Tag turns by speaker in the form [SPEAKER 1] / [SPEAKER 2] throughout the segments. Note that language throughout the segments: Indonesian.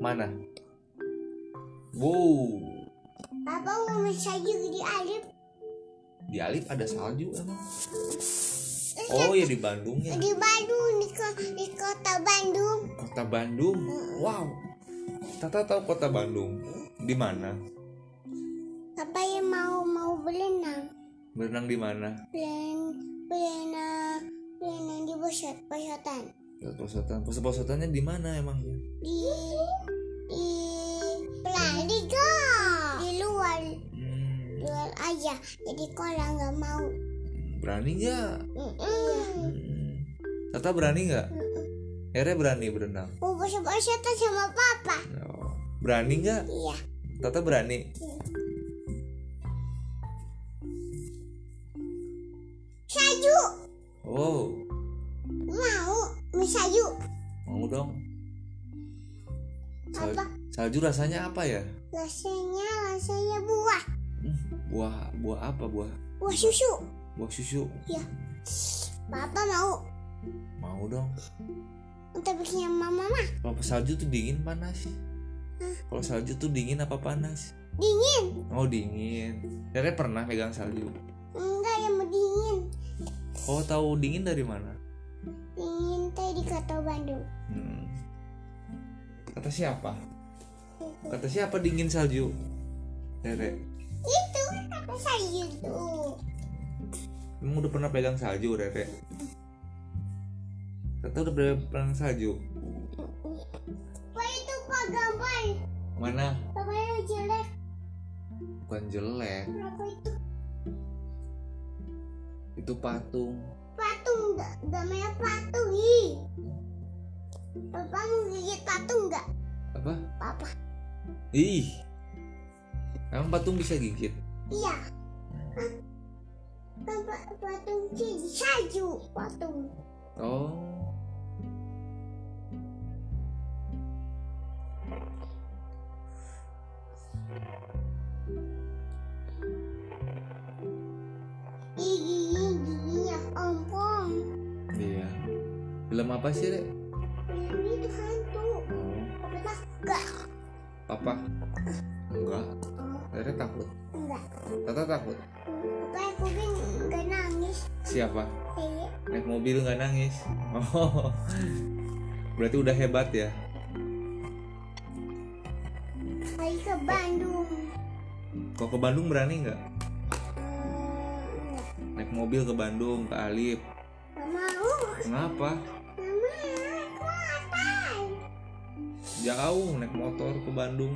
[SPEAKER 1] Mana? Wow,
[SPEAKER 2] Papa mau main salju di Alif
[SPEAKER 1] di Alif ada salju emang.
[SPEAKER 2] Eh,
[SPEAKER 1] Oh ya di Bandung ya.
[SPEAKER 2] di Bandung di, ko- di kota Bandung
[SPEAKER 1] Kota Bandung. Wow. Tata tahu kota Bandung di mana?
[SPEAKER 2] Papa yang mau mau berenang
[SPEAKER 1] Berenang di mana?
[SPEAKER 2] beren berenang berenang di pusat pusatan
[SPEAKER 1] Pesotan, pesotannya di mana emangnya?
[SPEAKER 2] di di pelan di gor. di luar
[SPEAKER 1] Hmm,
[SPEAKER 2] luar aja jadi kalau nggak mau
[SPEAKER 1] berani nggak?
[SPEAKER 2] Mm-mm.
[SPEAKER 1] Hmm. Tata berani nggak? Ere berani berenang.
[SPEAKER 2] mau pusat pusatan Oh, sama papa
[SPEAKER 1] Oh. Berani nggak?
[SPEAKER 2] iya
[SPEAKER 1] Tata berani.
[SPEAKER 2] sayu
[SPEAKER 1] Wow.
[SPEAKER 2] mau mau sayu
[SPEAKER 1] Mau dong. Sal-
[SPEAKER 2] Apa?
[SPEAKER 1] salju rasanya apa ya?
[SPEAKER 2] rasanya rasanya buah
[SPEAKER 1] Hmm, buah buah apa buah?
[SPEAKER 2] buah susu
[SPEAKER 1] Buah susu.
[SPEAKER 2] papa mau
[SPEAKER 1] Mau dong.
[SPEAKER 2] untuk bikin sama mama
[SPEAKER 1] Kalau salju tuh dingin panas. Kalau salju tuh dingin apa panas?
[SPEAKER 2] dingin
[SPEAKER 1] Oh dingin. Rere pernah megang salju.
[SPEAKER 2] enggak yang mau dingin
[SPEAKER 1] Oh tahu dingin dari mana?
[SPEAKER 2] dingin teh di kota Bandung
[SPEAKER 1] Hmm. Kata siapa? Kata siapa dingin salju? Rere.
[SPEAKER 2] itu kata sayu tuh
[SPEAKER 1] Emang udah pernah pegang salju Rere? Kata udah pernah pegang salju.
[SPEAKER 2] apa itu pak gambar
[SPEAKER 1] Mana?
[SPEAKER 2] gambarnya jelek
[SPEAKER 1] Bukan jelek.
[SPEAKER 2] apa itu
[SPEAKER 1] Itu patung.
[SPEAKER 2] patung enggak gambarnya patung ih papa mau gigit patung enggak
[SPEAKER 1] Apa?
[SPEAKER 2] papa
[SPEAKER 1] Ih. Emang patung bisa gigit?
[SPEAKER 2] iya Hah? kan pa- patung jadi salju patung
[SPEAKER 1] Oh.
[SPEAKER 2] ih ya gigi giginya ompong
[SPEAKER 1] Iya. Film apa sih, Rek?
[SPEAKER 2] ini itu hantu
[SPEAKER 1] Oh.
[SPEAKER 2] papa takut
[SPEAKER 1] Papa? Enggak. Rere takut.
[SPEAKER 2] enggak
[SPEAKER 1] Tata takut.
[SPEAKER 2] papa aku kan enggak nangis
[SPEAKER 1] Siapa?
[SPEAKER 2] kayak
[SPEAKER 1] Naik mobil nggak nangis. Oh. Berarti udah hebat ya.
[SPEAKER 2] lagi ke Bandung
[SPEAKER 1] Kok ke Bandung berani nggak?
[SPEAKER 2] Eh,
[SPEAKER 1] Naik mobil ke Bandung, ke Alip.
[SPEAKER 2] enggak mau
[SPEAKER 1] Kenapa?
[SPEAKER 2] mama kuatan
[SPEAKER 1] Jauh naik motor ke Bandung.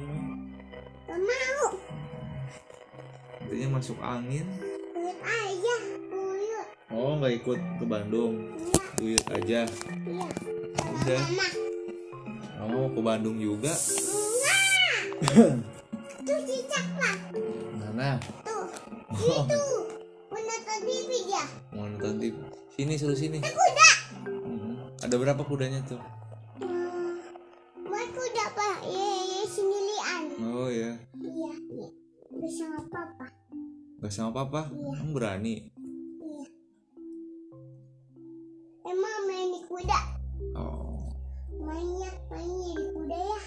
[SPEAKER 2] enggak mau
[SPEAKER 1] Intinya masuk angin.
[SPEAKER 2] lihat aja dulu
[SPEAKER 1] Oh, nggak ikut ke Bandung. Duyut aja.
[SPEAKER 2] iya
[SPEAKER 1] Udah.
[SPEAKER 2] mama
[SPEAKER 1] Oh, ke Bandung juga.
[SPEAKER 2] enggak tuh cicak lah
[SPEAKER 1] Mana? Oh,
[SPEAKER 2] tuh itu menonton TV dia
[SPEAKER 1] Mau nonton TV. Sini suruh sini.
[SPEAKER 2] Eh, kuda
[SPEAKER 1] Hmm. Ada berapa kudanya tuh?
[SPEAKER 2] Hmm, buat kuda pak ya ya sendirian
[SPEAKER 1] Oh ya.
[SPEAKER 2] iya iya bersama papa
[SPEAKER 1] Gak sama papa? Emang berani.
[SPEAKER 2] iya emang main di kuda
[SPEAKER 1] Oh.
[SPEAKER 2] mainnya mainnya di kuda ya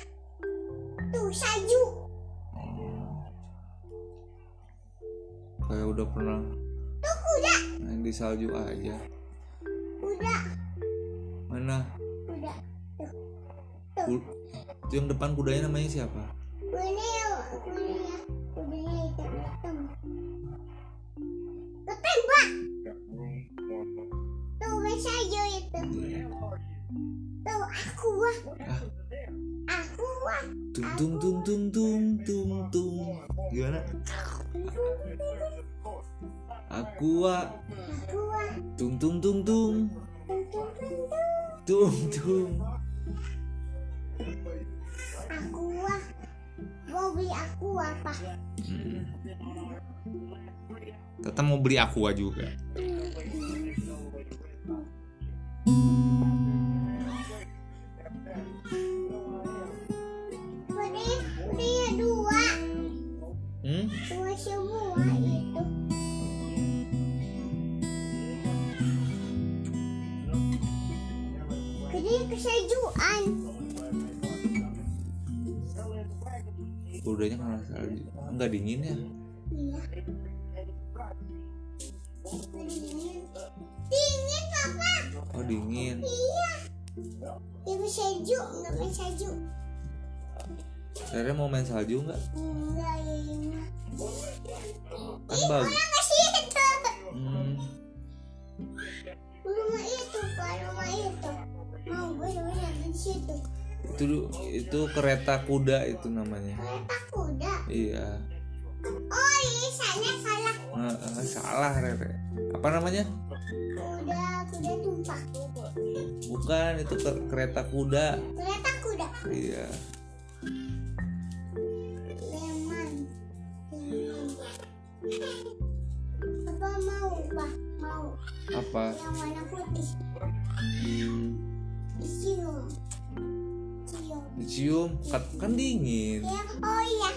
[SPEAKER 2] tuh salju
[SPEAKER 1] Kayak udah pernah
[SPEAKER 2] tuh kuda
[SPEAKER 1] main di salju aja.
[SPEAKER 2] kuda
[SPEAKER 1] Mana?
[SPEAKER 2] kuda tuh
[SPEAKER 1] Ku- itu yang depan kudanya namanya siapa?
[SPEAKER 2] kudanya kudanya ya, kudanya hitam hitam ketembak tuh main salju itu tuh aku wah
[SPEAKER 1] Ah,
[SPEAKER 2] aku wah
[SPEAKER 1] tung tung tung tung tung tung tung. Gimana? Aku wa
[SPEAKER 2] aku wah
[SPEAKER 1] tung tung tung tung
[SPEAKER 2] tung tung tung tung.
[SPEAKER 1] tung tung.
[SPEAKER 2] aku wah mau beli aku apa
[SPEAKER 1] Hmm. Tata mau beli aqua juga.
[SPEAKER 2] kudanya kudanya dua
[SPEAKER 1] Hmm?
[SPEAKER 2] dua semua itu kudanya kesajuan
[SPEAKER 1] rudanya kena salju nggak dingin ya
[SPEAKER 2] Iya. Udah dingin. Dingin papa.
[SPEAKER 1] oh dingin
[SPEAKER 2] Iya. Ibu salju, nggak main salju.
[SPEAKER 1] Rere mau main salju nggak
[SPEAKER 2] Enggak ini.
[SPEAKER 1] kan
[SPEAKER 2] Mana
[SPEAKER 1] bagus
[SPEAKER 2] ke situ?
[SPEAKER 1] hmm.
[SPEAKER 2] Rumah itu, Pak, rumah itu. Mau gue mau nyari di situ.
[SPEAKER 1] itu du- itu kereta kuda itu namanya
[SPEAKER 2] Kereta kuda.
[SPEAKER 1] iya
[SPEAKER 2] Oh, iya, saya salah.
[SPEAKER 1] Eh, eh, salah Rere apa namanya
[SPEAKER 2] Kuda, kuda tumpah.
[SPEAKER 1] bukan itu ke- kereta kuda
[SPEAKER 2] Kereta kuda.
[SPEAKER 1] iya
[SPEAKER 2] Lemon. Lemon. Apa mau, Pak? Mau.
[SPEAKER 1] apa
[SPEAKER 2] Yang warna putih.
[SPEAKER 1] Hmm,
[SPEAKER 2] Cium. Cium.
[SPEAKER 1] dicium kan, kan dingin
[SPEAKER 2] Ya, oh iya.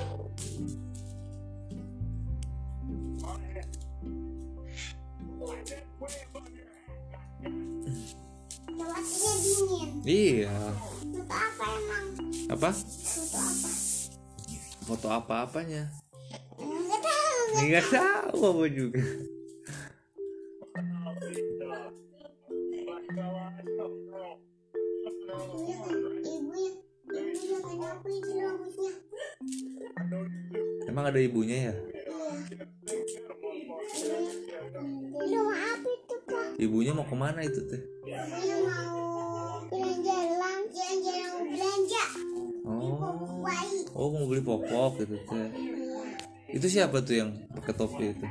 [SPEAKER 2] Tempatnya dingin.
[SPEAKER 1] iya
[SPEAKER 2] Untuk apa emang?
[SPEAKER 1] apa
[SPEAKER 2] Untuk apa?
[SPEAKER 1] foto apa apanya
[SPEAKER 2] Enggak tahu.
[SPEAKER 1] nggak tahu apa juga
[SPEAKER 2] Ibunya kan, ibunya, ibunya kan aku itu rambutnya.
[SPEAKER 1] emang ada ibunya
[SPEAKER 2] Iya.
[SPEAKER 1] ya
[SPEAKER 2] Ibunya, di rumah apa itu pak?
[SPEAKER 1] ibunya mau kemana itu teh
[SPEAKER 2] Ibunya mau jalan-jalan, jalan-jalan belanja.
[SPEAKER 1] oh
[SPEAKER 2] Baik.
[SPEAKER 1] oh mau beli popok gitu teh
[SPEAKER 2] Iya.
[SPEAKER 1] itu siapa tuh yang pakai topi itu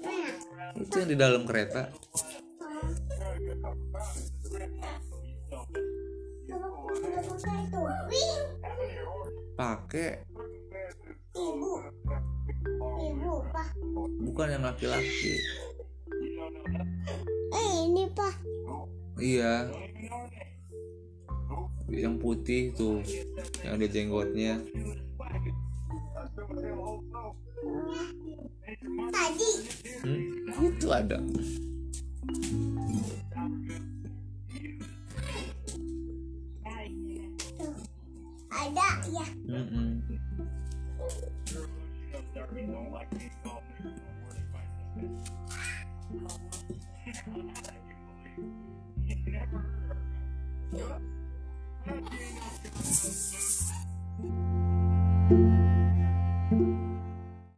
[SPEAKER 2] Iya.
[SPEAKER 1] itu yang di dalam kereta pakai
[SPEAKER 2] Ibu, ibu, pak.
[SPEAKER 1] bukan yang laki-laki
[SPEAKER 2] Eh, ini pak.
[SPEAKER 1] iya yang putih tuh yang ada jenggotnya
[SPEAKER 2] Tadi,
[SPEAKER 1] Hmm, itu ada
[SPEAKER 2] tuh. ada ya.
[SPEAKER 1] Mm-mm.